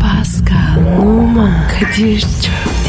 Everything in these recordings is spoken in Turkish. Pascal, Oman, Kadir çok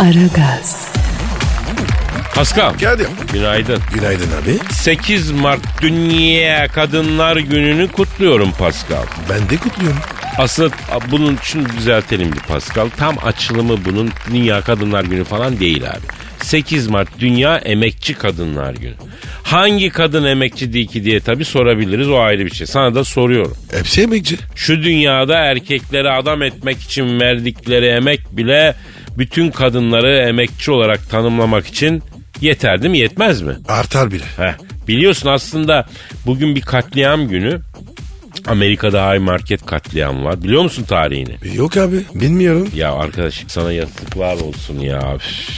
Aragaz, Paskal. Geldim. Günaydın. Günaydın abi. 8 Mart Dünya Kadınlar Günü'nü kutluyorum Pascal. Ben de kutluyorum. Aslında bunun için düzeltelim bir Pascal. Tam açılımı bunun Dünya Kadınlar Günü falan değil abi. 8 Mart Dünya Emekçi Kadınlar Günü. Hangi kadın emekçi değil ki diye tabii sorabiliriz o ayrı bir şey. Sana da soruyorum. Hepsi emekçi. Şu dünyada erkekleri adam etmek için verdikleri emek bile bütün kadınları emekçi olarak tanımlamak için yeter değil mi? Yetmez mi? Artar bile. Heh. Biliyorsun aslında bugün bir katliam günü. Amerika'da High Market katliamı var. Biliyor musun tarihini? Yok abi. Bilmiyorum. Ya arkadaş sana yazıklar olsun ya. Üf.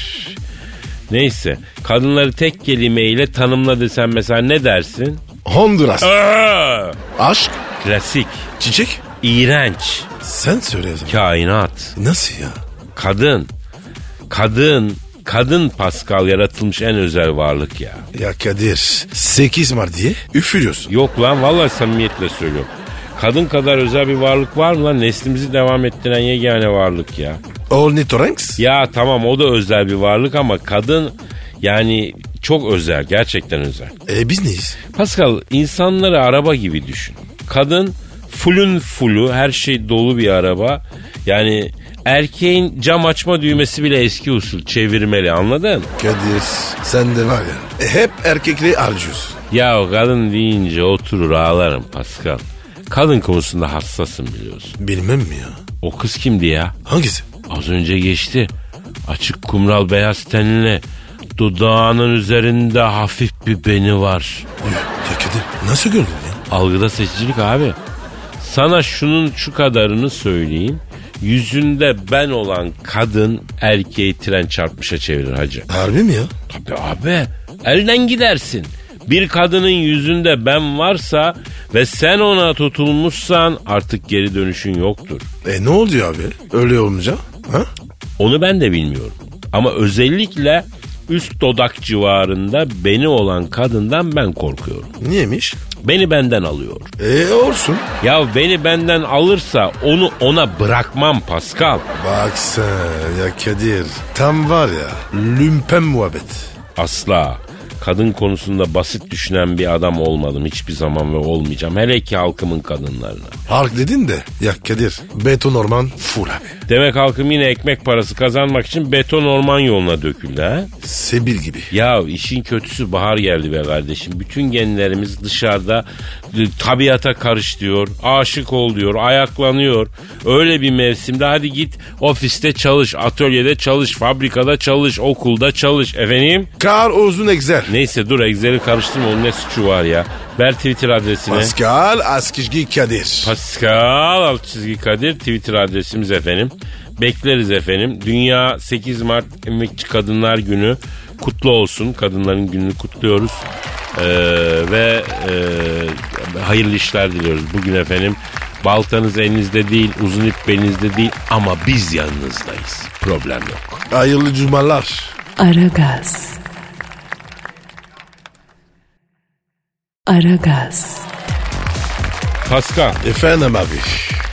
Neyse kadınları tek kelimeyle tanımla desen mesela ne dersin? Honduras. Aa! Aşk. Klasik, Çiçek. iğrenç, Sen söyle o zaman. kainat, Nasıl ya? kadın, kadın, kadın Pascal yaratılmış en özel varlık ya. Ya Kadir 8 Mart diye üfürüyorsun. Yok lan vallahi samimiyetle söylüyorum. Kadın kadar özel bir varlık var mı lan? Neslimizi devam ettiren yegane varlık ya. Ornitorenks. Ya tamam o da özel bir varlık ama kadın yani çok özel gerçekten özel. E biz neyiz? Pascal insanları araba gibi düşün. Kadın fulün fulu her şey dolu bir araba. Yani erkeğin cam açma düğmesi bile eski usul çevirmeli anladın? Kadir sen de var ya E, hep erkekleri harcıyorsun. Ya kadın deyince oturur ağlarım Pascal. Kadın konusunda hassasım biliyorsun. Bilmem mi ya? O kız kimdi ya? Hangisi? Az önce geçti. Açık kumral beyaz tenli. Dudağının üzerinde hafif bir beni var. Ya, ya Kadir nasıl gördün ya? Algıda seçicilik abi. Sana şunun şu kadarını söyleyeyim. Yüzünde ben olan kadın erkeği tren çarpmışa çevirir hacı. Harbi mi ya? Tabii abi elden gidersin. Bir kadının yüzünde ben varsa ve sen ona tutulmuşsan artık geri dönüşün yoktur. E ne oluyor abi? Öyle olunca? Ha? Onu ben de bilmiyorum. Ama özellikle üst dodak civarında beni olan kadından ben korkuyorum. Niyemiş? Beni benden alıyor. E olsun. Ya beni benden alırsa onu ona bırakmam Pascal. Bak sen ya Kadir. Tam var ya lümpen muhabbet. Asla. Kadın konusunda basit düşünen bir adam olmadım hiçbir zaman ve olmayacağım. Hele ki halkımın kadınlarına. Hark dedin de ya Kadir beton orman full abi. Demek halkım yine ekmek parası kazanmak için beton orman yoluna döküldü ha? Sebil gibi. Ya işin kötüsü bahar geldi be kardeşim. Bütün genlerimiz dışarıda e, tabiata karış diyor, aşık ol diyor, ayaklanıyor. Öyle bir mevsimde hadi git ofiste çalış, atölyede çalış, fabrikada çalış, okulda çalış efendim. Kar uzun egzer. Neyse dur Excel'i karıştırma onun ne suçu var ya. Ver Twitter adresine. Pascal Askizgi Kadir. Pascal alt çizgi Kadir Twitter adresimiz efendim. Bekleriz efendim. Dünya 8 Mart Emekçi Kadınlar Günü kutlu olsun. Kadınların gününü kutluyoruz. Ee, ve e, hayırlı işler diliyoruz bugün efendim. Baltanız elinizde değil, uzun ip belinizde değil ama biz yanınızdayız. Problem yok. Hayırlı cumalar. Aragaz. Aragaz, Pascal Efendim abi.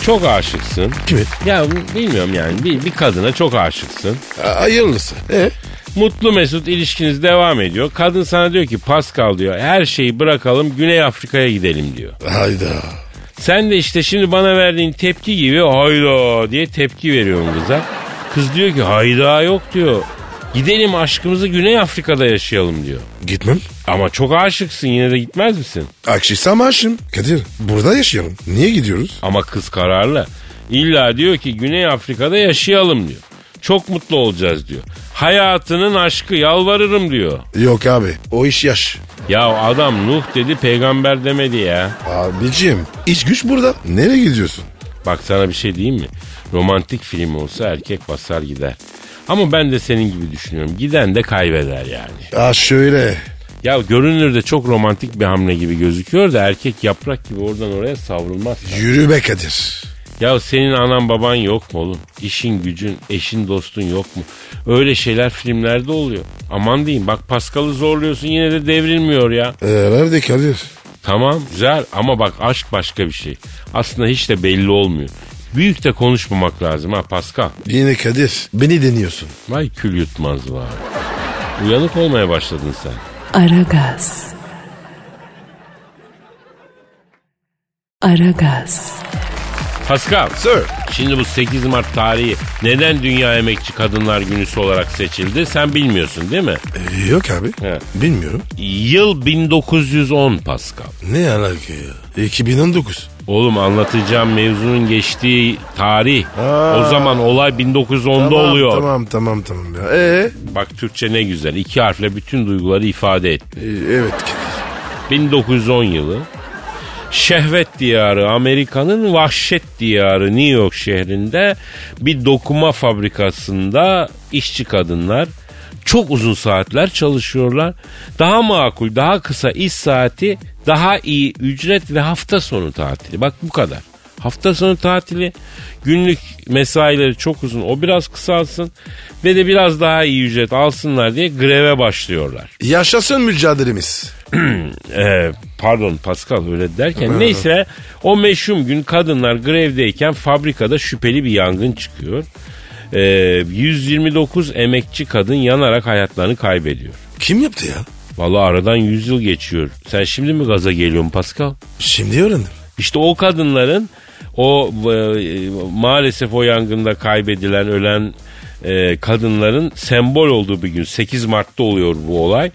çok aşıksın. Kimi? Ya bilmiyorum yani bir, bir kadına çok aşıksın. A- Hayırlısı. E? Mutlu mesut ilişkiniz devam ediyor. Kadın sana diyor ki Pascal diyor her şeyi bırakalım Güney Afrika'ya gidelim diyor. Hayda. Sen de işte şimdi bana verdiğin tepki gibi hayda diye tepki veriyorsun kıza. Kız diyor ki hayda yok diyor. Gidelim aşkımızı Güney Afrika'da yaşayalım diyor. Gitmem. Ama çok aşıksın yine de gitmez misin? Akşisam aşım. Kadir burada yaşıyorum. Niye gidiyoruz? Ama kız kararlı. İlla diyor ki Güney Afrika'da yaşayalım diyor. Çok mutlu olacağız diyor. Hayatının aşkı yalvarırım diyor. Yok abi. O iş yaş. Ya adam Nuh dedi peygamber demedi ya. Abicim iş güç burada. Nereye gidiyorsun? Bak sana bir şey diyeyim mi? Romantik film olsa erkek basar gider. Ama ben de senin gibi düşünüyorum. Giden de kaybeder yani. Ha şöyle. Ya görünürde çok romantik bir hamle gibi gözüküyor da erkek yaprak gibi oradan oraya savrulmaz. Yürü be Kadir. Ya senin anan baban yok mu oğlum? İşin gücün, eşin dostun yok mu? Öyle şeyler filmlerde oluyor. Aman diyeyim bak Paskal'ı zorluyorsun yine de devrilmiyor ya. Ee, nerede Kadir? Tamam güzel ama bak aşk başka bir şey. Aslında hiç de belli olmuyor. Büyük de konuşmamak lazım ha Pascal. Yine Kadir. Beni deniyorsun. Vay kül yutmaz var. Uyanık olmaya başladın sen. Aragaz. Aragaz. Pascal. Sir. Şimdi bu 8 Mart tarihi neden Dünya Emekçi Kadınlar Günü'sü olarak seçildi sen bilmiyorsun değil mi? Ee, yok abi. He. Bilmiyorum. Yıl 1910 Pascal. Ne alaka ya? 2019. Oğlum anlatacağım mevzunun geçtiği tarih. Aa. o zaman olay 1910'da Tamam, oluyor. Tamam tamam tamam. Ya. Ee? Bak Türkçe ne güzel. iki harfle bütün duyguları ifade etti. Ee, evet Kadir. 1910 yılı. Şehvet diyarı Amerika'nın vahşet diyarı New York şehrinde bir dokuma fabrikasında işçi kadınlar çok uzun saatler çalışıyorlar. Daha makul, daha kısa iş saati, daha iyi ücret ve hafta sonu tatili. Bak bu kadar. Hafta sonu tatili, günlük mesaileri çok uzun, o biraz kısalsın ve de biraz daha iyi ücret alsınlar diye greve başlıyorlar. Yaşasın mücadelemiz. Ee, pardon Pascal öyle derken neyse o meşhum gün kadınlar grevdeyken fabrikada şüpheli bir yangın çıkıyor. Ee, 129 emekçi kadın yanarak hayatlarını kaybediyor. Kim yaptı ya? Vallahi aradan 100 yıl geçiyor. Sen şimdi mi gaza geliyorsun Pascal? Şimdi öğrendim. İşte o kadınların o e, maalesef o yangında kaybedilen ölen e, kadınların sembol olduğu bir gün 8 Mart'ta oluyor bu olay.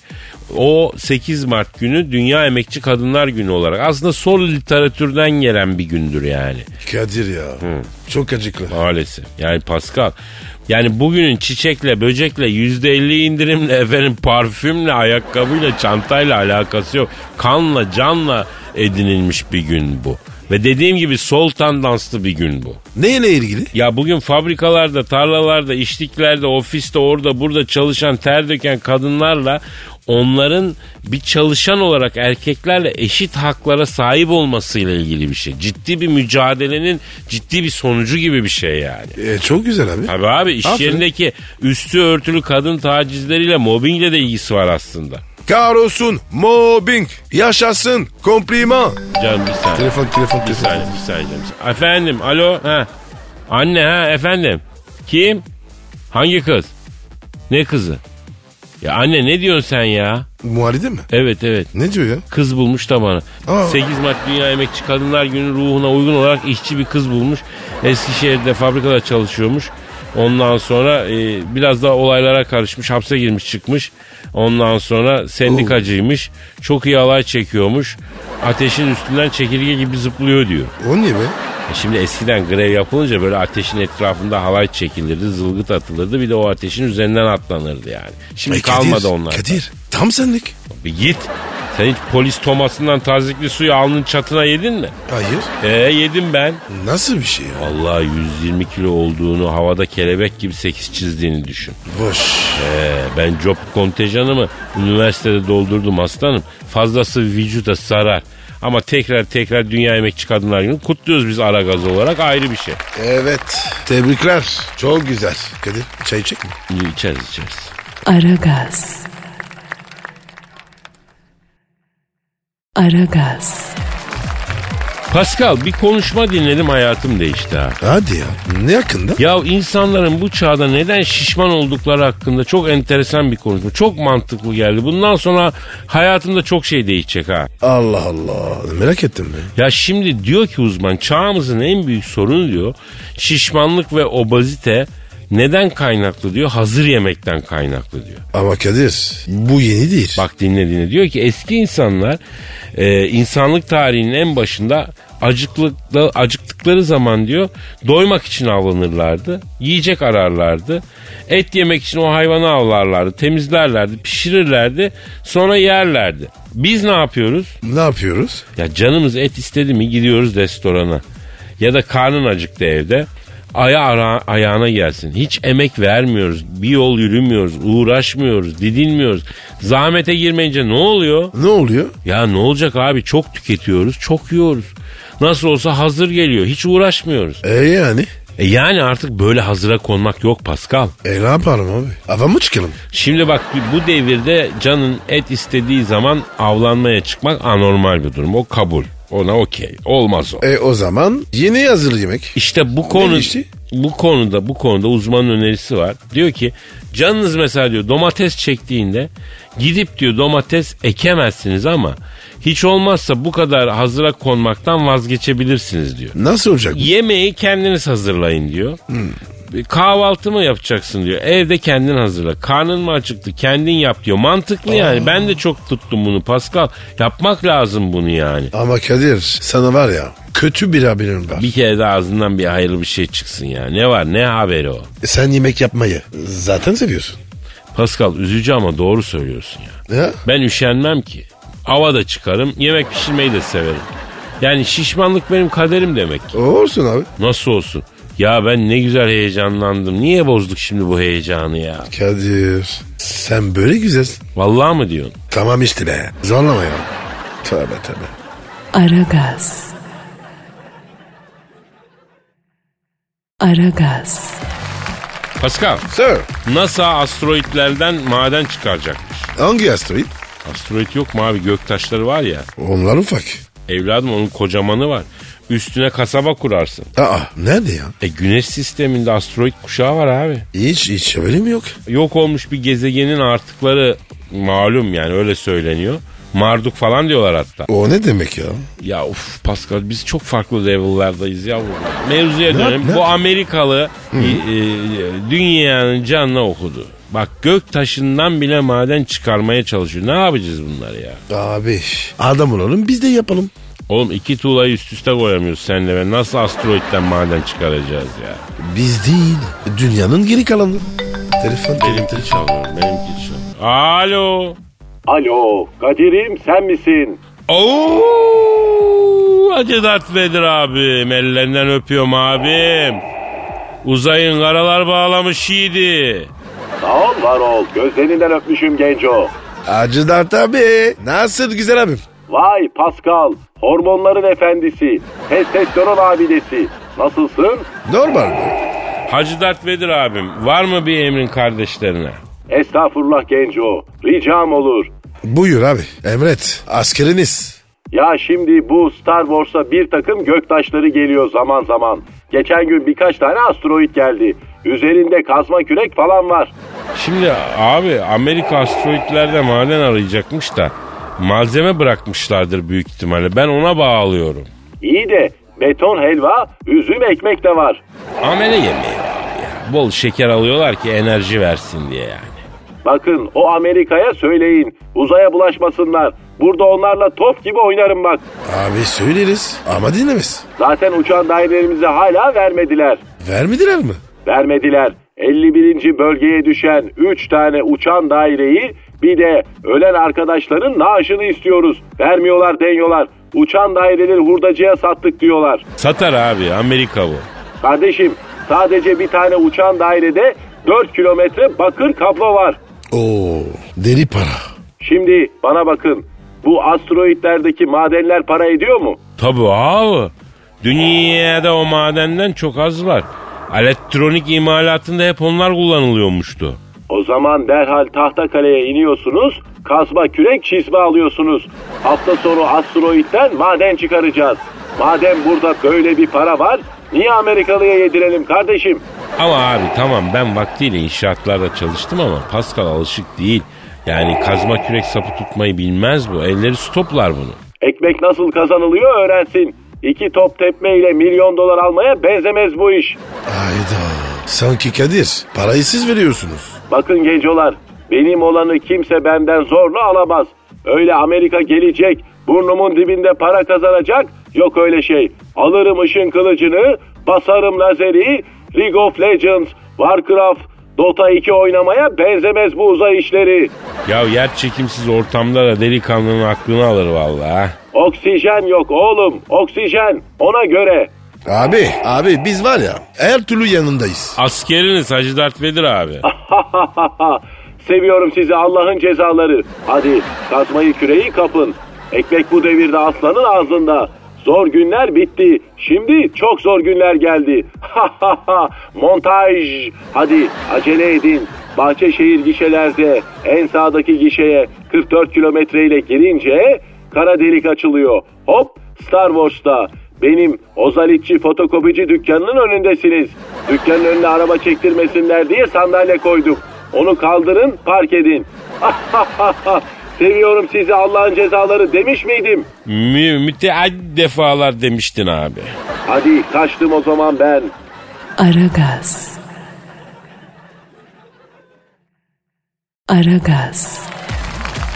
O 8 Mart günü Dünya Emekçi Kadınlar Günü olarak aslında sol literatürden gelen bir gündür yani Kadir ya. Çok acıklı. maalesef. Yani Pascal yani bugünün çiçekle böcekle %50 indirimle efendim parfümle ayakkabıyla çantayla alakası yok. Kanla canla edinilmiş bir gün bu. Ve dediğim gibi sol tandanslı bir gün bu. Neyle ilgili? Ya bugün fabrikalarda, tarlalarda, işliklerde, ofiste, orada, burada çalışan, ter döken kadınlarla onların bir çalışan olarak erkeklerle eşit haklara sahip olmasıyla ilgili bir şey. Ciddi bir mücadelenin ciddi bir sonucu gibi bir şey yani. Ee, çok güzel abi. Tabii abi iş Aferin. yerindeki üstü örtülü kadın tacizleriyle mobbingle de ilgisi var aslında. Karosun, mobbing, yaşasın, kompliman. Canım bir saniye. Telefon, telefon, Bir saniye, bir saniye. canım. Efendim, alo. Ha. Anne ha, efendim. Kim? Hangi kız? Ne kızı? Ya anne ne diyorsun sen ya? Muhalide mi? Evet evet. Ne diyor ya? Kız bulmuş da bana. Aa. 8 Mart Dünya Emekçi Kadınlar Günü ruhuna uygun olarak işçi bir kız bulmuş. Eskişehir'de fabrikada çalışıyormuş. Ondan sonra e, biraz daha olaylara karışmış. Hapse girmiş çıkmış. Ondan sonra sendikacıymış. Çok iyi alay çekiyormuş. Ateşin üstünden çekirge gibi zıplıyor diyor. O niye be? E Şimdi eskiden grev yapılınca böyle ateşin etrafında halay çekilirdi, zılgıt atılırdı. Bir de o ateşin üzerinden atlanırdı yani. Şimdi Ay kalmadı Kadir, onlar. Kadir, tam senlik. Bir git. Sen hiç polis tomasından tazikli suyu alnın çatına yedin mi? Hayır. E yedim ben. Nasıl bir şey ya? Vallahi 120 kilo olduğunu havada kelebek gibi 8 çizdiğini düşün. Boş. E, ben job kontenjanımı üniversitede doldurdum aslanım. Fazlası vücuda sarar. Ama tekrar tekrar Dünya Emekçi Kadınlar Günü kutluyoruz biz ara gaz olarak ayrı bir şey. Evet. Tebrikler. Çok güzel. Kadir, çay içecek mi? İçeriz içeriz. Aragaz. Aragaz. Pascal bir konuşma dinledim hayatım değişti ha. Hadi ya. Ne hakkında? Ya insanların bu çağda neden şişman oldukları hakkında çok enteresan bir konuşma. Çok mantıklı geldi. Bundan sonra hayatımda çok şey değişecek ha. Allah Allah. Merak ettim ben. Ya şimdi diyor ki uzman çağımızın en büyük sorunu diyor şişmanlık ve obazite neden kaynaklı diyor? Hazır yemekten kaynaklı diyor. Ama Kadir, bu yeni değil. Bak dinle dinle. Diyor ki eski insanlar e, insanlık tarihinin en başında acıklıkla, acıktıkları zaman diyor doymak için avlanırlardı. Yiyecek ararlardı. Et yemek için o hayvanı avlarlardı. Temizlerlerdi, pişirirlerdi. Sonra yerlerdi. Biz ne yapıyoruz? Ne yapıyoruz? Ya canımız et istedi mi gidiyoruz restorana. ya da karnın acıktı evde. Aya ara, ayağına gelsin. Hiç emek vermiyoruz. Bir yol yürümüyoruz. Uğraşmıyoruz. Didinmiyoruz. Zahmete girmeyince ne oluyor? Ne oluyor? Ya ne olacak abi çok tüketiyoruz çok yiyoruz. Nasıl olsa hazır geliyor hiç uğraşmıyoruz. E yani? E yani artık böyle hazıra konmak yok Pascal. E ne yapalım abi? Hava mı çıkalım? Şimdi bak bu devirde canın et istediği zaman avlanmaya çıkmak anormal bir durum. O kabul. Ona okey. Olmaz o. E o zaman yeni hazır yemek. İşte bu konu işi? bu konuda bu konuda uzmanın önerisi var. Diyor ki canınız mesela diyor domates çektiğinde gidip diyor domates ekemezsiniz ama hiç olmazsa bu kadar hazıra konmaktan vazgeçebilirsiniz diyor. Nasıl olacak? bu? Yemeği kendiniz hazırlayın diyor. Bir Kahvaltı mı yapacaksın diyor. Evde kendin hazırla. Karnın mı acıktı? Kendin yap diyor. Mantıklı yani. Ben de çok tuttum bunu Pascal. Yapmak lazım bunu yani. Ama Kadir sana var ya kötü bir haberim var. Bir kere de ağzından bir hayırlı bir şey çıksın ya. Ne var ne haberi o? E Sen yemek yapmayı zaten seviyorsun. Pascal üzücü ama doğru söylüyorsun ya. Ya? Ben üşenmem ki. Ava da çıkarım, yemek pişirmeyi de severim. Yani şişmanlık benim kaderim demek ki. Olsun abi. Nasıl olsun? Ya ben ne güzel heyecanlandım. Niye bozduk şimdi bu heyecanı ya? Kadir sen böyle güzelsin. Vallahi mı diyorsun? Tamam işte be. Zorlama ya. Tövbe tövbe. Aragaz. Aragaz. Pascal, Sir. NASA asteroitlerden maden çıkaracakmış. Hangi asteroid? Asteroit yok mu abi? Göktaşları var ya. Onlar ufak. Evladım onun kocamanı var. Üstüne kasaba kurarsın. Aa nerede ya? E güneş sisteminde asteroit kuşağı var abi. Hiç hiç öyle mi yok? yok olmuş bir gezegenin artıkları malum yani öyle söyleniyor. Marduk falan diyorlar hatta. O ne demek ya? Ya uf Pascal biz çok farklı level'lardayız ya. Mevzuya dönelim. ne- Bu Amerikalı e, e, dünyanın canına okudu. Bak gök taşından bile maden çıkarmaya çalışıyor. Ne yapacağız bunları ya? Abi adam olalım biz de yapalım. Oğlum iki tuğlayı üst üste koyamıyoruz senle ve nasıl asteroitten maden çıkaracağız ya? Biz değil dünyanın geri kalanı. Telefon Benimki çalıyor, benimki çalıyor. Alo. Alo Kadir'im sen misin? Oo, Hacı Dert Vedir abim. Ellerinden öpüyorum abim. Uzayın karalar bağlamış yiğidi. Sağ ol var ol gözlerinden öpmüşüm genco. Hacı Dert abi. Nasıl güzel abim? Vay Pascal hormonların efendisi testosteron abidesi nasılsın? Normal mi? Hacı Dert Vedir abim. Var mı bir emrin kardeşlerine? Estağfurullah genco ricam olur. Buyur abi. Emret. Askeriniz. Ya şimdi bu Star Wars'a bir takım göktaşları geliyor zaman zaman. Geçen gün birkaç tane asteroid geldi. Üzerinde kazma kürek falan var. Şimdi abi Amerika asteroitlerde maden arayacakmış da malzeme bırakmışlardır büyük ihtimalle. Ben ona bağlıyorum. İyi de beton helva, üzüm ekmek de var. Amele yemeği abi ya. Bol şeker alıyorlar ki enerji versin diye yani. Bakın o Amerika'ya söyleyin. Uzaya bulaşmasınlar. Burada onlarla top gibi oynarım bak. Abi söyleriz ama dinlemez. Zaten uçan dairelerimizi hala vermediler. Vermediler mi? Vermediler. 51. bölgeye düşen 3 tane uçan daireyi bir de ölen arkadaşların naaşını istiyoruz. Vermiyorlar deniyorlar. Uçan daireleri hurdacıya sattık diyorlar. Satar abi Amerika bu. Kardeşim sadece bir tane uçan dairede 4 kilometre bakır kablo var. Oo deli para. Şimdi bana bakın. Bu asteroitlerdeki madenler para ediyor mu? Tabii abi. Dünyada o madenden çok az var. Elektronik imalatında hep onlar kullanılıyormuştu. O zaman derhal Tahtakale'ye iniyorsunuz, kazma kürek çizme alıyorsunuz. Hafta sonu asteroitten maden çıkaracağız. Madem burada böyle bir para var, niye Amerikalı'ya yedirelim kardeşim? Ama abi tamam ben vaktiyle inşaatlarda çalıştım ama Pascal alışık değil. Yani kazma kürek sapı tutmayı bilmez bu. Elleri stoplar bunu. Ekmek nasıl kazanılıyor öğrensin. İki top tepme ile milyon dolar almaya benzemez bu iş. Hayda. Sanki Kadir parayı siz veriyorsunuz. Bakın gencolar, benim olanı kimse benden zorla alamaz. Öyle Amerika gelecek, burnumun dibinde para kazanacak, yok öyle şey. Alırım ışın kılıcını, basarım lazeri, League of Legends, Warcraft, Dota 2 oynamaya benzemez bu uzay işleri. Ya yer çekimsiz ortamda da delikanlının aklını alır vallahi. ha. Oksijen yok oğlum, oksijen. Ona göre Abi, abi biz var ya her türlü yanındayız. Askeriniz Hacı Dert Vedir abi. Seviyorum sizi Allah'ın cezaları. Hadi kazmayı küreği kapın. Ekmek bu devirde aslanın ağzında. Zor günler bitti. Şimdi çok zor günler geldi. Montaj. Hadi acele edin. Bahçeşehir gişelerde en sağdaki gişeye 44 kilometreyle girince kara delik açılıyor. Hop Star Wars'ta benim ozalitçi fotokopici dükkanının önündesiniz. Dükkanın önüne araba çektirmesinler diye sandalye koyduk. Onu kaldırın, park edin. Seviyorum sizi Allah'ın cezaları demiş miydim? Mü müteaddit defalar demiştin abi. Hadi kaçtım o zaman ben. Aragaz. Aragaz.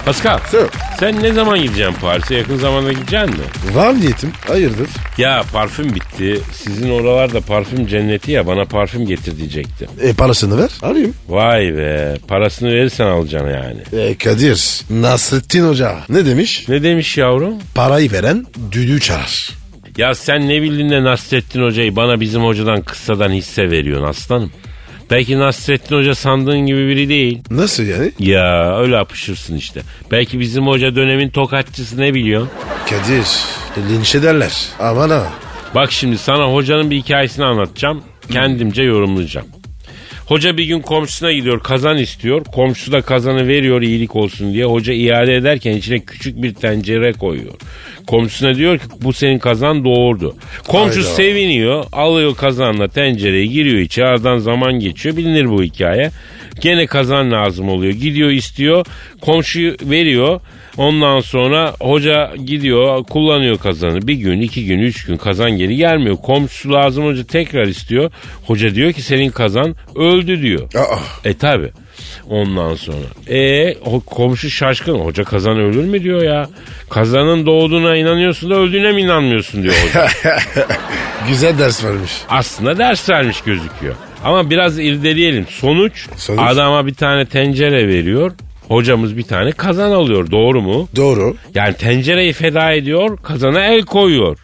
Pascal Sir. sen ne zaman gideceksin Paris'e? Yakın zamanda gideceksin mi? Var niyetim. Hayırdır? Ya parfüm bitti. Sizin oralarda parfüm cenneti ya bana parfüm getir diyecektim. E parasını ver. Alayım. Vay be parasını verirsen alacaksın yani. E Kadir, Nasrettin Hoca ne demiş? Ne demiş yavrum? Parayı veren düdüğü çalar. Ya sen ne bildin de Nasrettin Hoca'yı bana bizim hocadan kıssadan hisse veriyorsun aslanım. Belki Nasrettin Hoca sandığın gibi biri değil. Nasıl yani? Ya öyle apışırsın işte. Belki bizim hoca dönemin tokatçısı ne biliyor? Kadir, linç ederler. Aman ha. Bak şimdi sana hocanın bir hikayesini anlatacağım. Kendimce yorumlayacağım. Hoca bir gün komşusuna gidiyor kazan istiyor. Komşu da kazanı veriyor iyilik olsun diye. Hoca iade ederken içine küçük bir tencere koyuyor. Komşusuna diyor ki bu senin kazan doğurdu. Komşu Hayda. seviniyor. Alıyor kazanla tencereye giriyor içeri. Aradan zaman geçiyor. Bilinir bu hikaye. Gene kazan lazım oluyor. Gidiyor istiyor. Komşuyu veriyor. Ondan sonra hoca gidiyor kullanıyor kazanı. Bir gün, iki gün, üç gün kazan geri gelmiyor. Komşusu lazım hoca tekrar istiyor. Hoca diyor ki senin kazan öldü diyor. Aa, E tabi. Ondan sonra. E o komşu şaşkın. Hoca kazan ölür mü diyor ya. Kazanın doğduğuna inanıyorsun da öldüğüne mi inanmıyorsun diyor hoca. güzel ders vermiş. Aslında ders vermiş gözüküyor. Ama biraz irdeleyelim. Sonuç, Sonuç? adama bir tane tencere veriyor. Hocamız bir tane kazan alıyor. Doğru mu? Doğru. Yani tencereyi feda ediyor, kazana el koyuyor.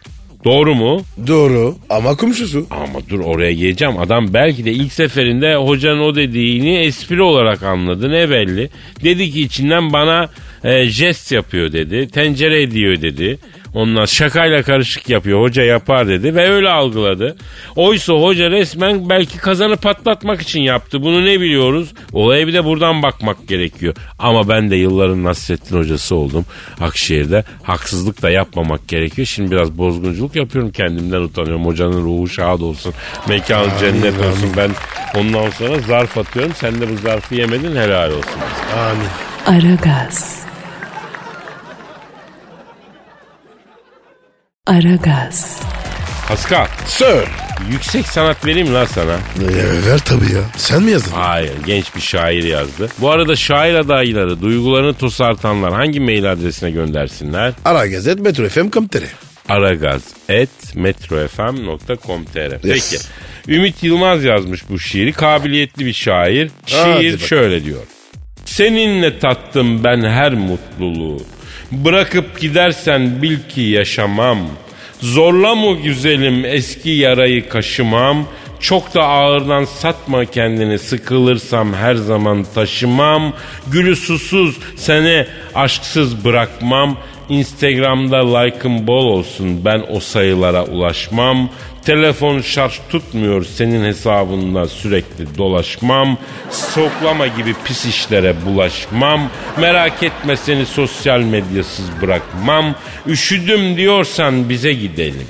Doğru mu? Doğru. Ama komşusu. Ama dur oraya geleceğim. Adam belki de ilk seferinde hocanın o dediğini espri olarak anladı. Ne belli? Dedi ki içinden bana e, jest yapıyor dedi. Tencere ediyor dedi. Ondan şakayla karışık yapıyor. Hoca yapar dedi ve öyle algıladı. Oysa hoca resmen belki kazanı patlatmak için yaptı. Bunu ne biliyoruz? Olaya bir de buradan bakmak gerekiyor. Ama ben de yılların Nasrettin hocası oldum. Akşehir'de haksızlık da yapmamak gerekiyor. Şimdi biraz bozgunculuk yapıyorum. Kendimden utanıyorum. Hocanın ruhu şad olsun. Mekanı cennet olsun. Ben ondan sonra zarf atıyorum. Sen de bu zarfı yemedin helal olsun. Amin. Aragaz. Aragaz. Pascal Sir. yüksek sanat vereyim lan sana. E, ver tabii ya. Sen mi yazdın? Hayır genç bir şair yazdı. Bu arada şair adayları duygularını tosartanlar hangi mail adresine göndersinler? Ara gazet metro fm komteri. aragaz.metrofm.com.tr Peki. Yes. Ümit Yılmaz yazmış bu şiiri. Kabiliyetli bir şair. Hadi Şiir bakalım. şöyle diyor. Seninle tattım ben her mutluluğu. Bırakıp gidersen bil ki yaşamam. Zorlama güzelim eski yarayı kaşımam. Çok da ağırdan satma kendini sıkılırsam her zaman taşımam. Gülü susuz seni aşksız bırakmam. Instagram'da like'ım bol olsun ben o sayılara ulaşmam. Telefon şarj tutmuyor senin hesabında sürekli dolaşmam. Soklama gibi pis işlere bulaşmam. Merak etme seni sosyal medyasız bırakmam. Üşüdüm diyorsan bize gidelim.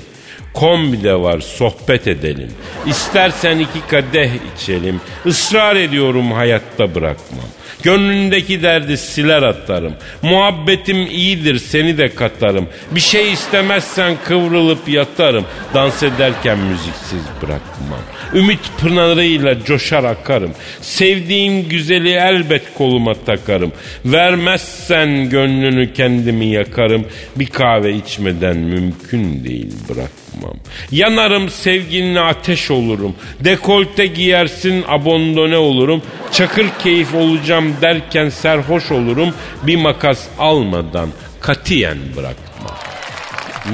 Kombi de var sohbet edelim. İstersen iki kadeh içelim. Israr ediyorum hayatta bırakmam. Gönlündeki derdi siler atarım. Muhabbetim iyidir seni de katarım. Bir şey istemezsen kıvrılıp yatarım. Dans ederken müziksiz bırakmam. Ümit pınarıyla coşar akarım. Sevdiğim güzeli elbet koluma takarım. Vermezsen gönlünü kendimi yakarım. Bir kahve içmeden mümkün değil bırakmam. Yanarım sevginle ateş olurum. Dekolte giyersin abondone olurum. Çakır keyif olacağım derken serhoş olurum. Bir makas almadan katiyen bırakmam.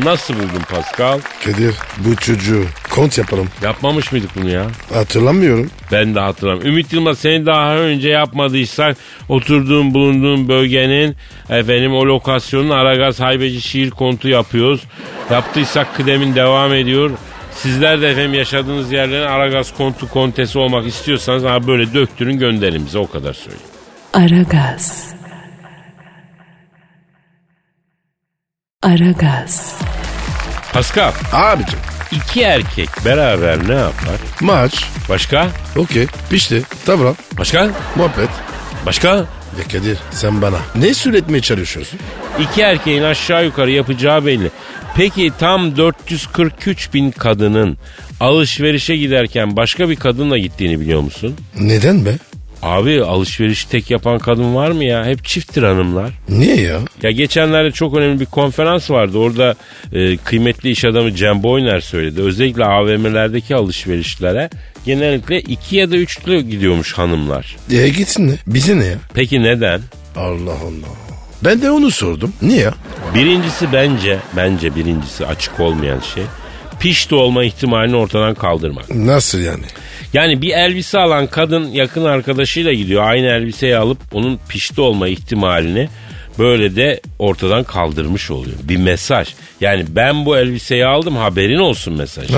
Nasıl buldun Pascal? Kadir bu çocuğu Kont yaparım. Yapmamış mıydık bunu ya? Hatırlamıyorum. Ben de hatırlamıyorum. Ümit Yılmaz seni daha önce yapmadıysan oturduğun bulunduğun bölgenin efendim o lokasyonun Aragaz Haybeci şiir kontu yapıyoruz. Yaptıysak kıdemin devam ediyor. Sizler de efendim yaşadığınız yerlerin Aragaz kontu kontesi olmak istiyorsanız ha böyle döktürün gönderin bize o kadar söyleyeyim. Aragaz. Aragaz. Pascal Abicim iki erkek beraber ne yapar? maç. Başka? Okey. Pişti. Tamam. Başka? Muhabbet. Başka? Ya Kadir sen bana ne söyletmeye çalışıyorsun? İki erkeğin aşağı yukarı yapacağı belli. Peki tam 443 bin kadının alışverişe giderken başka bir kadınla gittiğini biliyor musun? Neden be? Abi alışverişi tek yapan kadın var mı ya? Hep çifttir hanımlar. Niye ya? Ya geçenlerde çok önemli bir konferans vardı. Orada e, kıymetli iş adamı Cem Boyner söyledi. Özellikle AVM'lerdeki alışverişlere genellikle iki ya da üçlü gidiyormuş hanımlar. E gitsin ne? Bize ne ya? Peki neden? Allah Allah. Ben de onu sordum. Niye ya? Birincisi bence, bence birincisi açık olmayan şey. Piş de olma ihtimalini ortadan kaldırmak. Nasıl yani? Yani bir elbise alan kadın yakın arkadaşıyla gidiyor. Aynı elbiseyi alıp onun pişti olma ihtimalini böyle de ortadan kaldırmış oluyor. Bir mesaj. Yani ben bu elbiseyi aldım haberin olsun mesaj.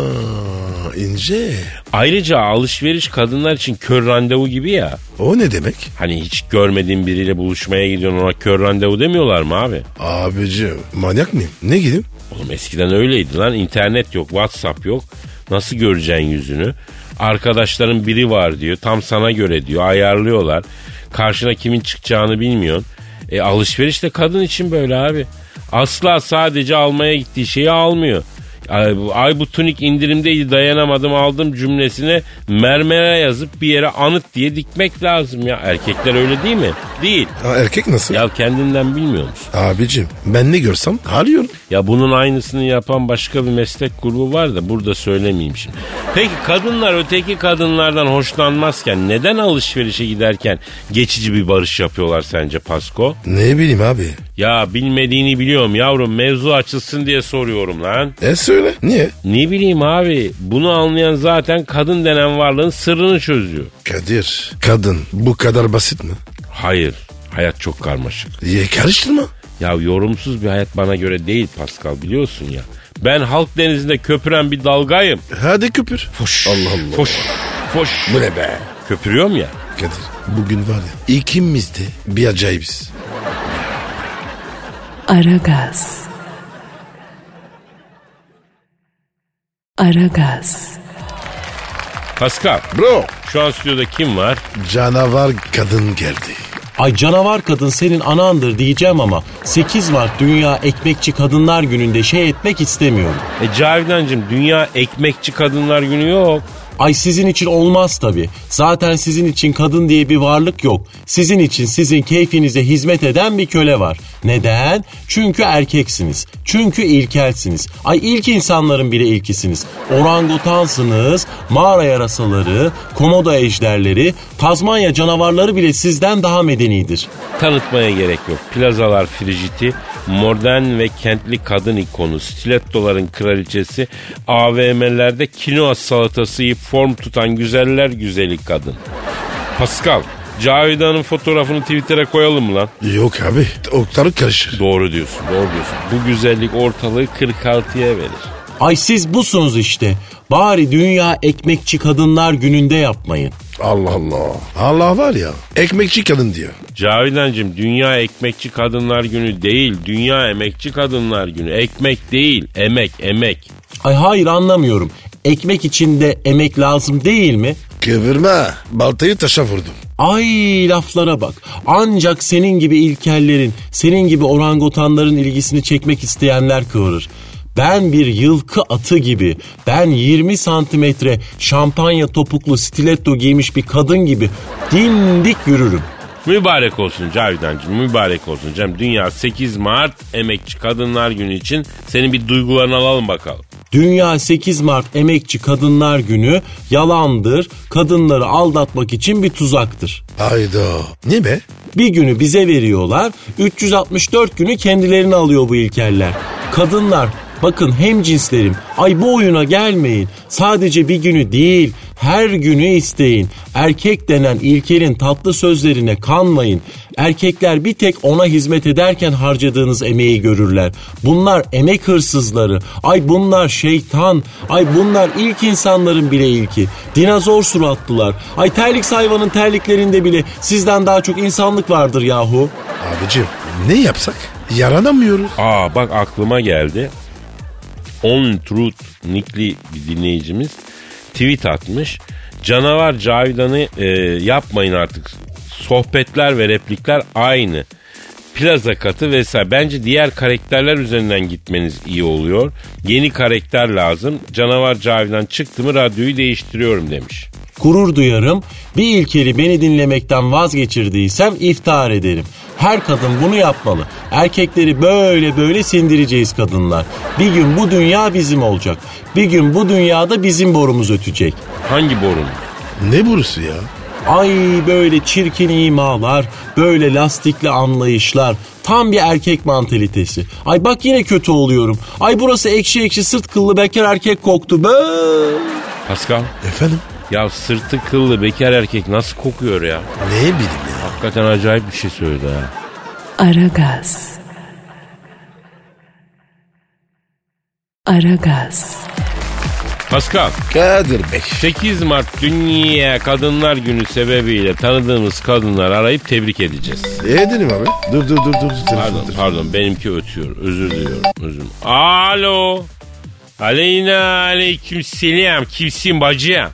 Aa, ince. Ayrıca alışveriş kadınlar için kör randevu gibi ya. O ne demek? Hani hiç görmediğin biriyle buluşmaya gidiyorsun ona kör randevu demiyorlar mı abi? Abicim manyak mıyım? Ne gideyim? Oğlum eskiden öyleydi lan. İnternet yok, WhatsApp yok. Nasıl göreceksin yüzünü? Arkadaşların biri var diyor. Tam sana göre diyor. Ayarlıyorlar. Karşına kimin çıkacağını bilmiyorsun. E alışveriş de kadın için böyle abi. Asla sadece almaya gittiği şeyi almıyor. Ay, bu- ay bu tunik indirimdeydi dayanamadım aldım cümlesine mermere yazıp bir yere anıt diye dikmek lazım ya. Erkekler öyle değil mi? Değil. Ha, erkek nasıl? Ya kendinden bilmiyor musun? Abicim ben ne görsem arıyorum. Ya bunun aynısını yapan başka bir meslek grubu var da burada söylemeyeyim şimdi. Peki kadınlar öteki kadınlardan hoşlanmazken neden alışverişe giderken geçici bir barış yapıyorlar sence Pasko? Ne bileyim abi. Ya bilmediğini biliyorum yavrum mevzu açılsın diye soruyorum lan. E söyle. Niye? Ne bileyim abi bunu anlayan zaten kadın denen varlığın sırrını çözüyor. Kadir kadın bu kadar basit mi? Hayır hayat çok karmaşık. Ye karıştırma. Ya yorumsuz bir hayat bana göre değil Pascal biliyorsun ya. Ben halk denizinde köpüren bir dalgayım. Hadi köpür. Foş. Allah Allah. Foş. Foş. Bu ne be? Köpürüyorum ya. Kadir bugün var ya ikimiz de bir acayibiz. Aragaz. Aragaz. Pascal Bro şu an stüdyoda kim var? canavar kadın geldi. Ay canavar kadın senin anandır diyeceğim ama 8 Mart Dünya Ekmekçi Kadınlar Günü'nde şey etmek istemiyorum. E Cavidancığım dünya ekmekçi kadınlar günü yok. Ay sizin için olmaz tabii. Zaten sizin için kadın diye bir varlık yok. Sizin için sizin keyfinize hizmet eden bir köle var. Neden? Çünkü erkeksiniz. Çünkü ilkelsiniz. Ay ilk insanların bile ilkisiniz. Orangutansınız, mağara yarasaları, komodo ejderleri, Tazmanya canavarları bile sizden daha medenidir. Tanıtmaya gerek yok. Plazalar frijiti, modern ve kentli kadın ikonu, stilettoların kraliçesi, AVM'lerde kinoa salatası yiyip form tutan güzeller güzeli kadın. Pascal, Cavidan'ın fotoğrafını Twitter'a koyalım mı lan? Yok abi oktarı karışır. Doğru diyorsun, doğru diyorsun. Bu güzellik ortalığı 46'ya verir. Ay siz busunuz işte. Bari Dünya Ekmekçi Kadınlar Günü'nde yapmayın. Allah Allah. Allah var ya ekmekçi kadın diyor. Cavidancığım dünya ekmekçi kadınlar günü değil, dünya emekçi kadınlar günü. Ekmek değil, emek, emek. Ay hayır anlamıyorum. Ekmek içinde emek lazım değil mi? Kıvırma baltayı taşa vurdum. Ay laflara bak. Ancak senin gibi ilkellerin, senin gibi orangutanların ilgisini çekmek isteyenler kıvırır. Ben bir yılkı atı gibi, ben 20 santimetre şampanya topuklu stiletto giymiş bir kadın gibi dimdik yürürüm. Mübarek olsun Cavidancığım, mübarek olsun. Cem dünya 8 Mart emekçi kadınlar günü için senin bir duygularını alalım bakalım. Dünya 8 Mart Emekçi Kadınlar Günü yalandır, kadınları aldatmak için bir tuzaktır. Hayda. Ne be? Bir günü bize veriyorlar, 364 günü kendilerini alıyor bu ilkeller. Kadınlar Bakın hem cinslerim ay bu oyuna gelmeyin. Sadece bir günü değil her günü isteyin. Erkek denen ilkelin tatlı sözlerine kanmayın. Erkekler bir tek ona hizmet ederken harcadığınız emeği görürler. Bunlar emek hırsızları. Ay bunlar şeytan. Ay bunlar ilk insanların bile ilki. Dinozor suratlılar. Ay terlik hayvanın terliklerinde bile sizden daha çok insanlık vardır yahu. Abicim ne yapsak? Yaranamıyoruz. Aa bak aklıma geldi. On Truth Nikli bir dinleyicimiz tweet atmış. Canavar Cavidan'ı e, yapmayın artık. Sohbetler ve replikler aynı. Plaza katı vesaire. Bence diğer karakterler üzerinden gitmeniz iyi oluyor. Yeni karakter lazım. Canavar Cavidan çıktı mı radyoyu değiştiriyorum demiş. Gurur duyarım. Bir ilkeli beni dinlemekten vazgeçirdiysem iftihar ederim. Her kadın bunu yapmalı. Erkekleri böyle böyle sindireceğiz kadınlar. Bir gün bu dünya bizim olacak. Bir gün bu dünyada bizim borumuz ötecek. Hangi borun? Ne burası ya? Ay böyle çirkin imalar, böyle lastikli anlayışlar. Tam bir erkek mantalitesi. Ay bak yine kötü oluyorum. Ay burası ekşi ekşi sırt kıllı bekar erkek koktu. Bööö. Pascal Efendim? ya sırtı kıllı bekar erkek nasıl kokuyor ya? Ne bileyim ya? Hakikaten acayip bir şey söyledi ha. Aragaz. Aragaz. Pascal Kadir Bey. 8 Mart Dünya Kadınlar Günü sebebiyle tanıdığımız kadınları arayıp tebrik edeceğiz. E edelim abi. Dur dur dur dur. dur. Pardon pardon benimki ötüyor özür diliyorum özür Alo. Aleyna aleyküm selam kimsin bacı?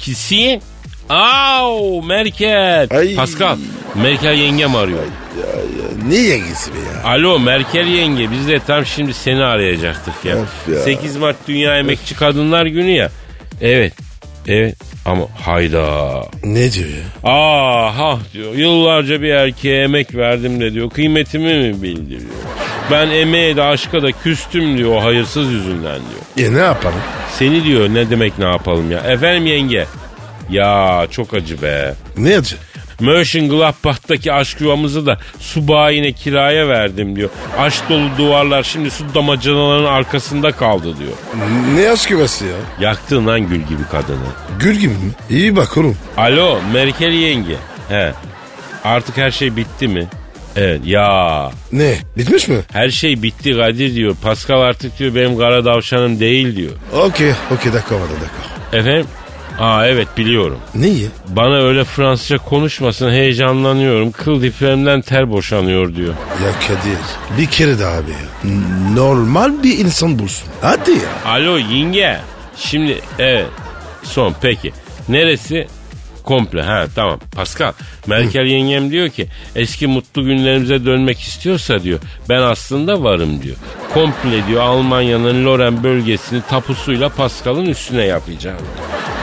Kimsin? Au Merkel. Ay. Pascal Merkel yengem arıyor. Ne yengesi be ya? Alo Merkel yenge biz de tam şimdi seni arayacaktık ya. Of ya. 8 Mart Dünya Emekçi Kadınlar Günü ya. Evet. Evet ama hayda. Ne diyor ya? Aha diyor yıllarca bir erkeğe emek verdim de diyor kıymetimi mi bildiriyor. Ben emeğe de aşka da küstüm diyor o hayırsız yüzünden diyor. E ne yapalım? Seni diyor ne demek ne yapalım ya. Efendim yenge. Ya çok acı be. Ne acı? Mönchengladbach'taki aşk yuvamızı da su bayine kiraya verdim diyor. Aşk dolu duvarlar şimdi su damacanalarının arkasında kaldı diyor. Ne aşk yuvası ya? Yaktın lan gül gibi kadını. Gül gibi mi? İyi bak oğlum. Alo Merkel yenge. He. Artık her şey bitti mi? Evet ya Ne? Bitmiş mi? her şey bitti Kadir diyor. Pascal artık diyor benim kara davşanım değil diyor. Okey. Okey dakika var dakika. Efendim? Aa evet biliyorum. Ne ya? Bana öyle Fransızca konuşmasın heyecanlanıyorum. Kıl diplerimden ter boşanıyor diyor. Ya Kadir bir kere daha abi ya. N- Normal bir insan bulsun. Hadi ya. Alo yenge. Şimdi evet. Son peki. Neresi? Komple ha tamam Pascal Merkel yengem diyor ki eski mutlu günlerimize dönmek istiyorsa diyor ben aslında varım diyor. Komple diyor Almanya'nın Loren bölgesini tapusuyla Pascal'ın üstüne yapacağım.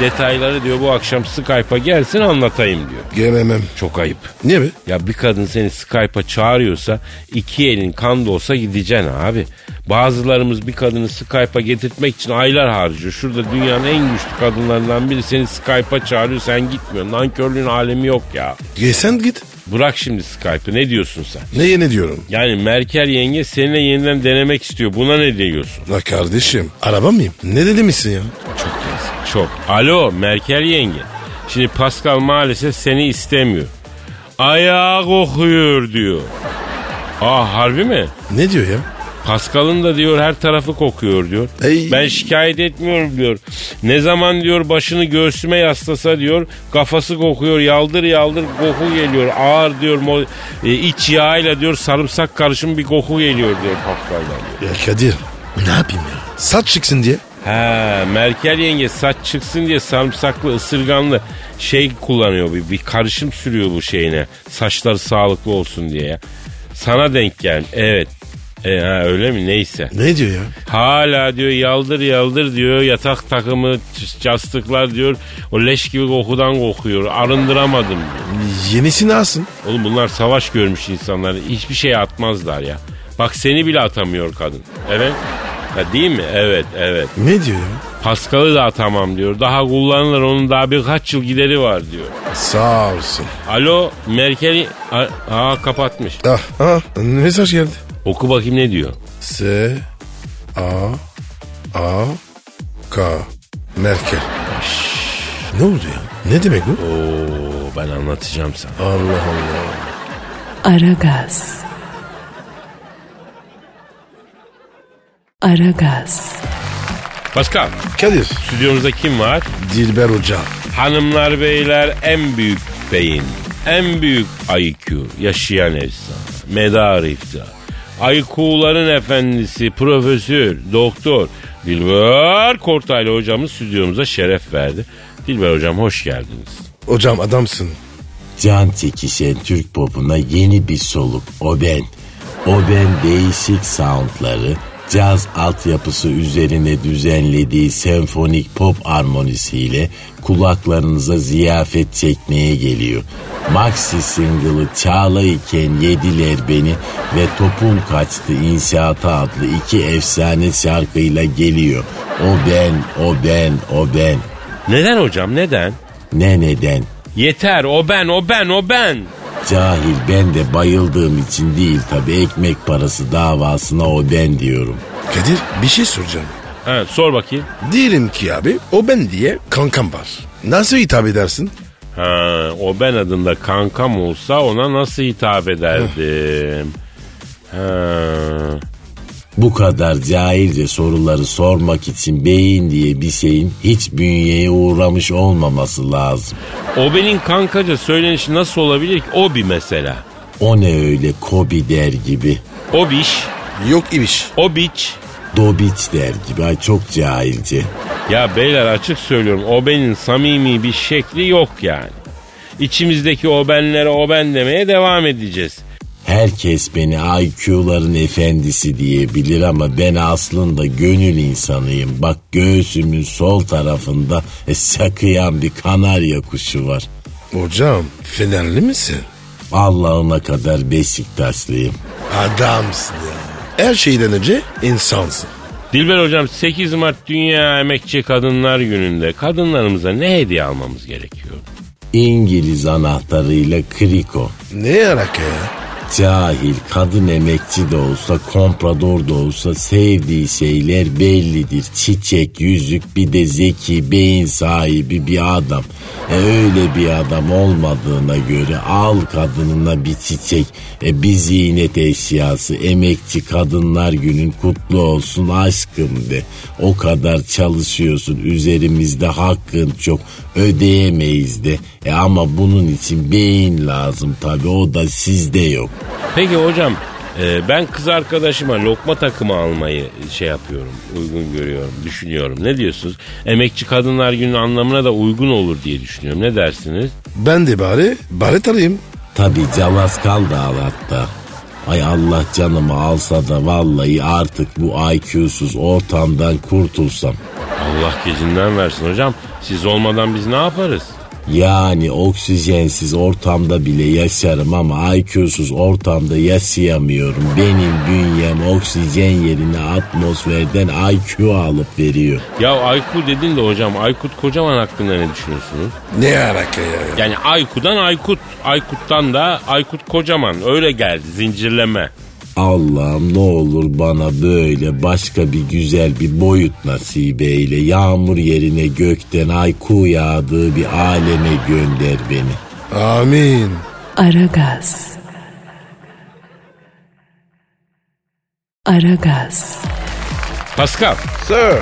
Detayları diyor bu akşam Skype'a gelsin anlatayım diyor. Gelemem. Çok ayıp. Niye be? Ya bir kadın seni Skype'a çağırıyorsa iki elin kan da olsa gideceksin abi. Bazılarımız bir kadını Skype'a getirtmek için aylar harcıyor. Şurada dünyanın en güçlü kadınlarından biri seni Skype'a çağırıyor sen gitmiyorsun. Nankörlüğün alemi yok ya. E sen git. Bırak şimdi Skype'ı ne diyorsun sen? Neye ne diyorum? Yani Merkel yenge seninle yeniden denemek istiyor. Buna ne diyorsun? La kardeşim araba mıyım? Ne dedi misin ya? Çok yazık. Çok. Alo Merkel yenge. Şimdi Pascal maalesef seni istemiyor. Ayağı kokuyor diyor. Aa harbi mi? Ne diyor ya? Pascal'ın da diyor her tarafı kokuyor diyor. Ey. Ben şikayet etmiyorum diyor. Ne zaman diyor başını göğsüme yaslasa diyor kafası kokuyor yaldır yaldır koku geliyor. Ağır diyor mo- e, iç yağıyla diyor sarımsak karışımı bir koku geliyor diyor Pascal'dan diyor. Ya Kadir ne yapayım ya? Saç çıksın diye. He Merkel yenge saç çıksın diye sarımsaklı ısırganlı şey kullanıyor bir, bir karışım sürüyor bu şeyine. Saçlar sağlıklı olsun diye ya. Sana denk gel. Evet. E, ha, öyle mi? Neyse. Ne diyor ya? Hala diyor yaldır yaldır diyor yatak takımı c- castıklar diyor o leş gibi kokudan kokuyor arındıramadım diyor. Yenisini alsın. Oğlum bunlar savaş görmüş insanlar hiçbir şey atmazlar ya. Bak seni bile atamıyor kadın. Evet. Ha, değil mi? Evet evet. Ne diyor ya? Paskal'ı da atamam diyor. Daha kullanılır onun daha birkaç yıl gideri var diyor. Sağ olsun. Alo Merkel'i... A- Aa kapatmış. Ah, ah mesaj geldi. Oku bakayım ne diyor. S A A K Merkel. Şşş, ne oldu ya? Ne demek bu? Oo ben anlatacağım sana. Allah Allah. Aragaz. Aragaz. Pascal Kadir. stüdyomuzda kim var? Dilber Hoca. Hanımlar beyler en büyük beyin, en büyük IQ yaşayan efsane, medar iftihar. IQ'ların efendisi, profesör, doktor Dilber Kortaylı hocamız stüdyomuza şeref verdi. Dilber hocam hoş geldiniz. Hocam adamsın. Can çekişen Türk popuna yeni bir soluk o ben. O ben değişik soundları caz altyapısı üzerine düzenlediği senfonik pop armonisiyle kulaklarınıza ziyafet çekmeye geliyor. Maxi single'ı Çağla iken yediler beni ve topun kaçtı inşaata adlı iki efsane şarkıyla geliyor. O ben, o ben, o ben. Neden hocam neden? Ne neden? Yeter o ben o ben o ben. Cahil ben de bayıldığım için değil tabi ekmek parası davasına o ben diyorum. Kadir bir şey soracağım. Ha, sor bakayım. Diyelim ki abi o ben diye kankam var. Nasıl hitap edersin? Ha, o ben adında kankam olsa ona nasıl hitap ederdim? ha. Bu kadar cahilce soruları sormak için beyin diye bir şeyin hiç bünyeye uğramış olmaması lazım. Obe'nin kankaca söylenişi nasıl olabilir ki? Obi mesela. O ne öyle Kobi der gibi, Obiş, Yok ibiş. Obiç. Dobiç der gibi Ay çok cahilce. Ya beyler açık söylüyorum Obe'nin samimi bir şekli yok yani. İçimizdeki Obenlere Oben demeye devam edeceğiz. Herkes beni IQ'ların efendisi diyebilir ama ben aslında gönül insanıyım. Bak göğsümün sol tarafında e, sakıyan bir kanarya kuşu var. Hocam fenerli misin? Allah'ına kadar Beşiktaşlıyım. Adamsın ya. Her şeyden önce insansın. Dilber hocam 8 Mart Dünya Emekçi Kadınlar Günü'nde kadınlarımıza ne hediye almamız gerekiyor? İngiliz anahtarıyla kriko. Ne alaka ya? Cahil kadın emekçi de olsa komprador da olsa sevdiği şeyler bellidir. Çiçek, yüzük bir de zeki beyin sahibi bir adam. E öyle bir adam olmadığına göre al kadınına bir çiçek. E bir ziynet eşyası emekçi kadınlar günün kutlu olsun aşkım de. O kadar çalışıyorsun üzerimizde hakkın çok ödeyemeyiz de. E ama bunun için beyin lazım tabi o da sizde yok. Peki hocam e, ben kız arkadaşıma lokma takımı almayı şey yapıyorum, uygun görüyorum, düşünüyorum. Ne diyorsunuz? Emekçi Kadınlar Günü anlamına da uygun olur diye düşünüyorum. Ne dersiniz? Ben de bari baret arayayım. Tabi Cavaskal da al hatta. Ay Allah canımı alsa da vallahi artık bu IQ'suz ortamdan kurtulsam. Allah gecinden versin hocam. Siz olmadan biz ne yaparız? Yani oksijensiz ortamda bile yaşarım ama IQ'suz ortamda yaşayamıyorum. Benim bünyem oksijen yerine atmosferden IQ alıp veriyor. Ya Aykut dedin de hocam Aykut Kocaman hakkında ne düşünüyorsunuz? Ne alaka ya? Yani Aykut'dan Aykut, Aykut'tan da Aykut Kocaman öyle geldi zincirleme. Allah'ım ne olur bana böyle başka bir güzel bir boyut nasip eyle. Yağmur yerine gökten ayku yağdığı bir aleme gönder beni. Amin. Aragaz. Aragaz. Pascal Sir.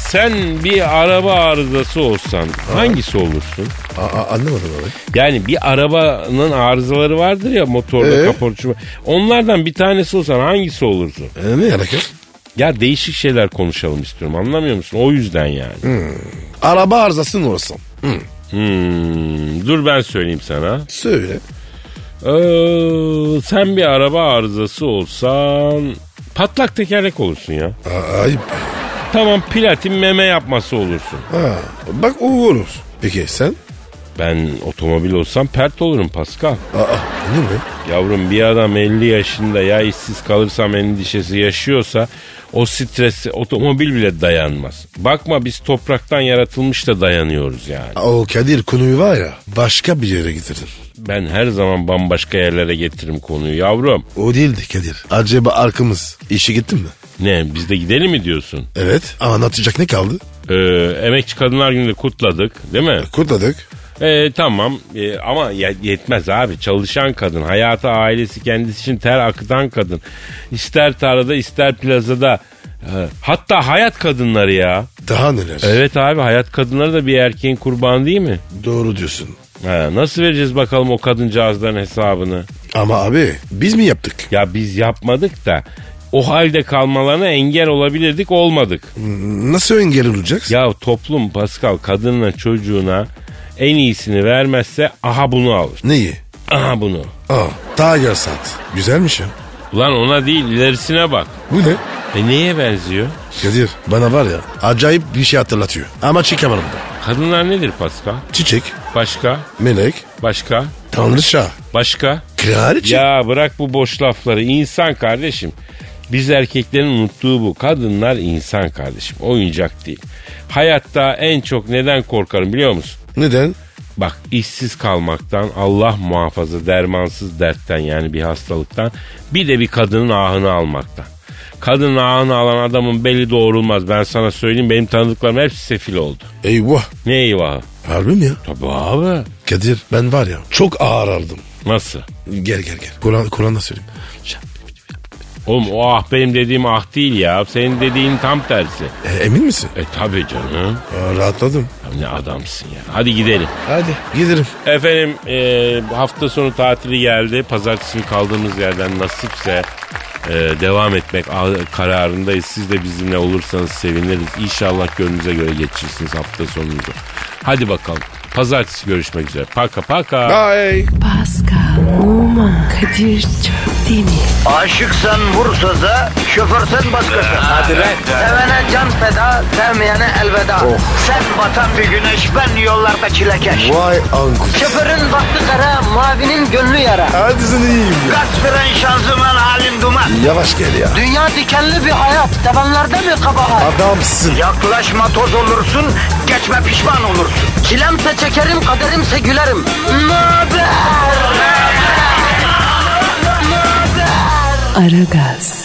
sen bir araba arızası olsan hangisi olursun? Aa, anlamadım abi. Yani bir arabanın arızaları vardır ya motorda Ee? kaporçu. Onlardan bir tanesi olsan hangisi olursun? Ee, ne alaka? Ya değişik şeyler konuşalım istiyorum anlamıyor musun? O yüzden yani. Araba arızasının olsun. Hmm, dur ben söyleyeyim sana. Söyle. Ee, sen bir araba arızası olsan patlak tekerlek olursun ya. Aa, ayıp. be. Tamam platin meme yapması olursun. Ha, bak o olur. Peki sen? Ben otomobil olsam pert olurum Pascal. Aa, ne bu? Yavrum bir adam 50 yaşında ya işsiz kalırsam endişesi yaşıyorsa o stresi otomobil bile dayanmaz. Bakma biz topraktan yaratılmış da dayanıyoruz yani. Aa, O Kadir konuyu var ya başka bir yere getirdin. Ben her zaman bambaşka yerlere getiririm konuyu yavrum. O değildi Kadir. Acaba arkamız işe gitti mi? Ne biz de gidelim mi diyorsun? Evet. Anlatacak ne kaldı? Ee, Emekçi Kadınlar Günü'nü de kutladık değil mi? Kurtladık. Ee, tamam Ee, ama ye- yetmez abi çalışan kadın hayata ailesi kendisi için ter akıtan kadın ister tarlada ister plazada Ee, hatta hayat kadınları ya. Daha neler? Evet abi hayat kadınları da bir erkeğin kurbanı değil mi? Doğru diyorsun. Ha, nasıl vereceğiz bakalım o kadıncağızların hesabını? Ama abi biz mi yaptık? Ya biz yapmadık da o halde kalmalarına engel olabilirdik olmadık. Nasıl engel olacak? Ya toplum Pascal kadınla çocuğuna en iyisini vermezse aha bunu alır. Neyi? Aha bunu. Aa, Tiger Sat. Güzelmiş ya. Ulan ona değil ilerisine bak. Bu ne? E neye benziyor? Kadir bana var ya acayip bir şey hatırlatıyor. Ama çıkamadım da. Kadınlar nedir Pascal? Çiçek, Başka, melek, başka, tanrıça, başka. kraliçe. Ya bırak bu boş lafları. İnsan kardeşim. Biz erkeklerin unuttuğu bu. Kadınlar insan kardeşim. Oyuncak değil. Hayatta en çok neden korkarım biliyor musun? Neden? Bak işsiz kalmaktan Allah muhafaza dermansız dertten yani bir hastalıktan bir de bir kadının ahını almaktan. Kadının ahını alan adamın beli doğrulmaz. Ben sana söyleyeyim benim tanıdıklarım hepsi sefil oldu. Eyvah. Ne eyvahı? Harbi mi ya? Tabii abi. Kadir ben var ya çok ağır aldım. Nasıl? Gel gel gel. Kur'an Kur'an'da söyleyeyim. Oğlum o ah benim dediğim ah değil ya. Senin dediğin tam tersi. E, emin misin? E tabi canım. Aa, rahatladım. Ya ne adamsın ya. Hadi gidelim. Hadi giderim. Efendim e, hafta sonu tatili geldi. Pazartesi günü kaldığımız yerden nasipse e, devam etmek a- kararındayız. Siz de bizimle olursanız seviniriz. İnşallah gönlünüze göre geçirirsiniz hafta sonunuzu. Hadi bakalım. Pazartesi görüşmek üzere. Paka paka. Bye. Pascal, Oman, Kadir çok değil mi? Aşıksan vursa da şoförsen başkasın. Hadi lan. Sevene can feda, sevmeyene elveda. Oh. Sen batan bir güneş, ben yollarda çilekeş. Vay anku. Şoförün baktı kara, mavinin gönlü yara. Hadi sen iyiyim ya. Kasperen şanzıman halin duman. Yavaş gel ya. Dünya dikenli bir hayat, sevenlerde mi kabahar? Adamsın. Yaklaşma toz olursun, geçme pişman olursun. Çilemse çekerim, kaderimse gülerim. Möber! Aragaz.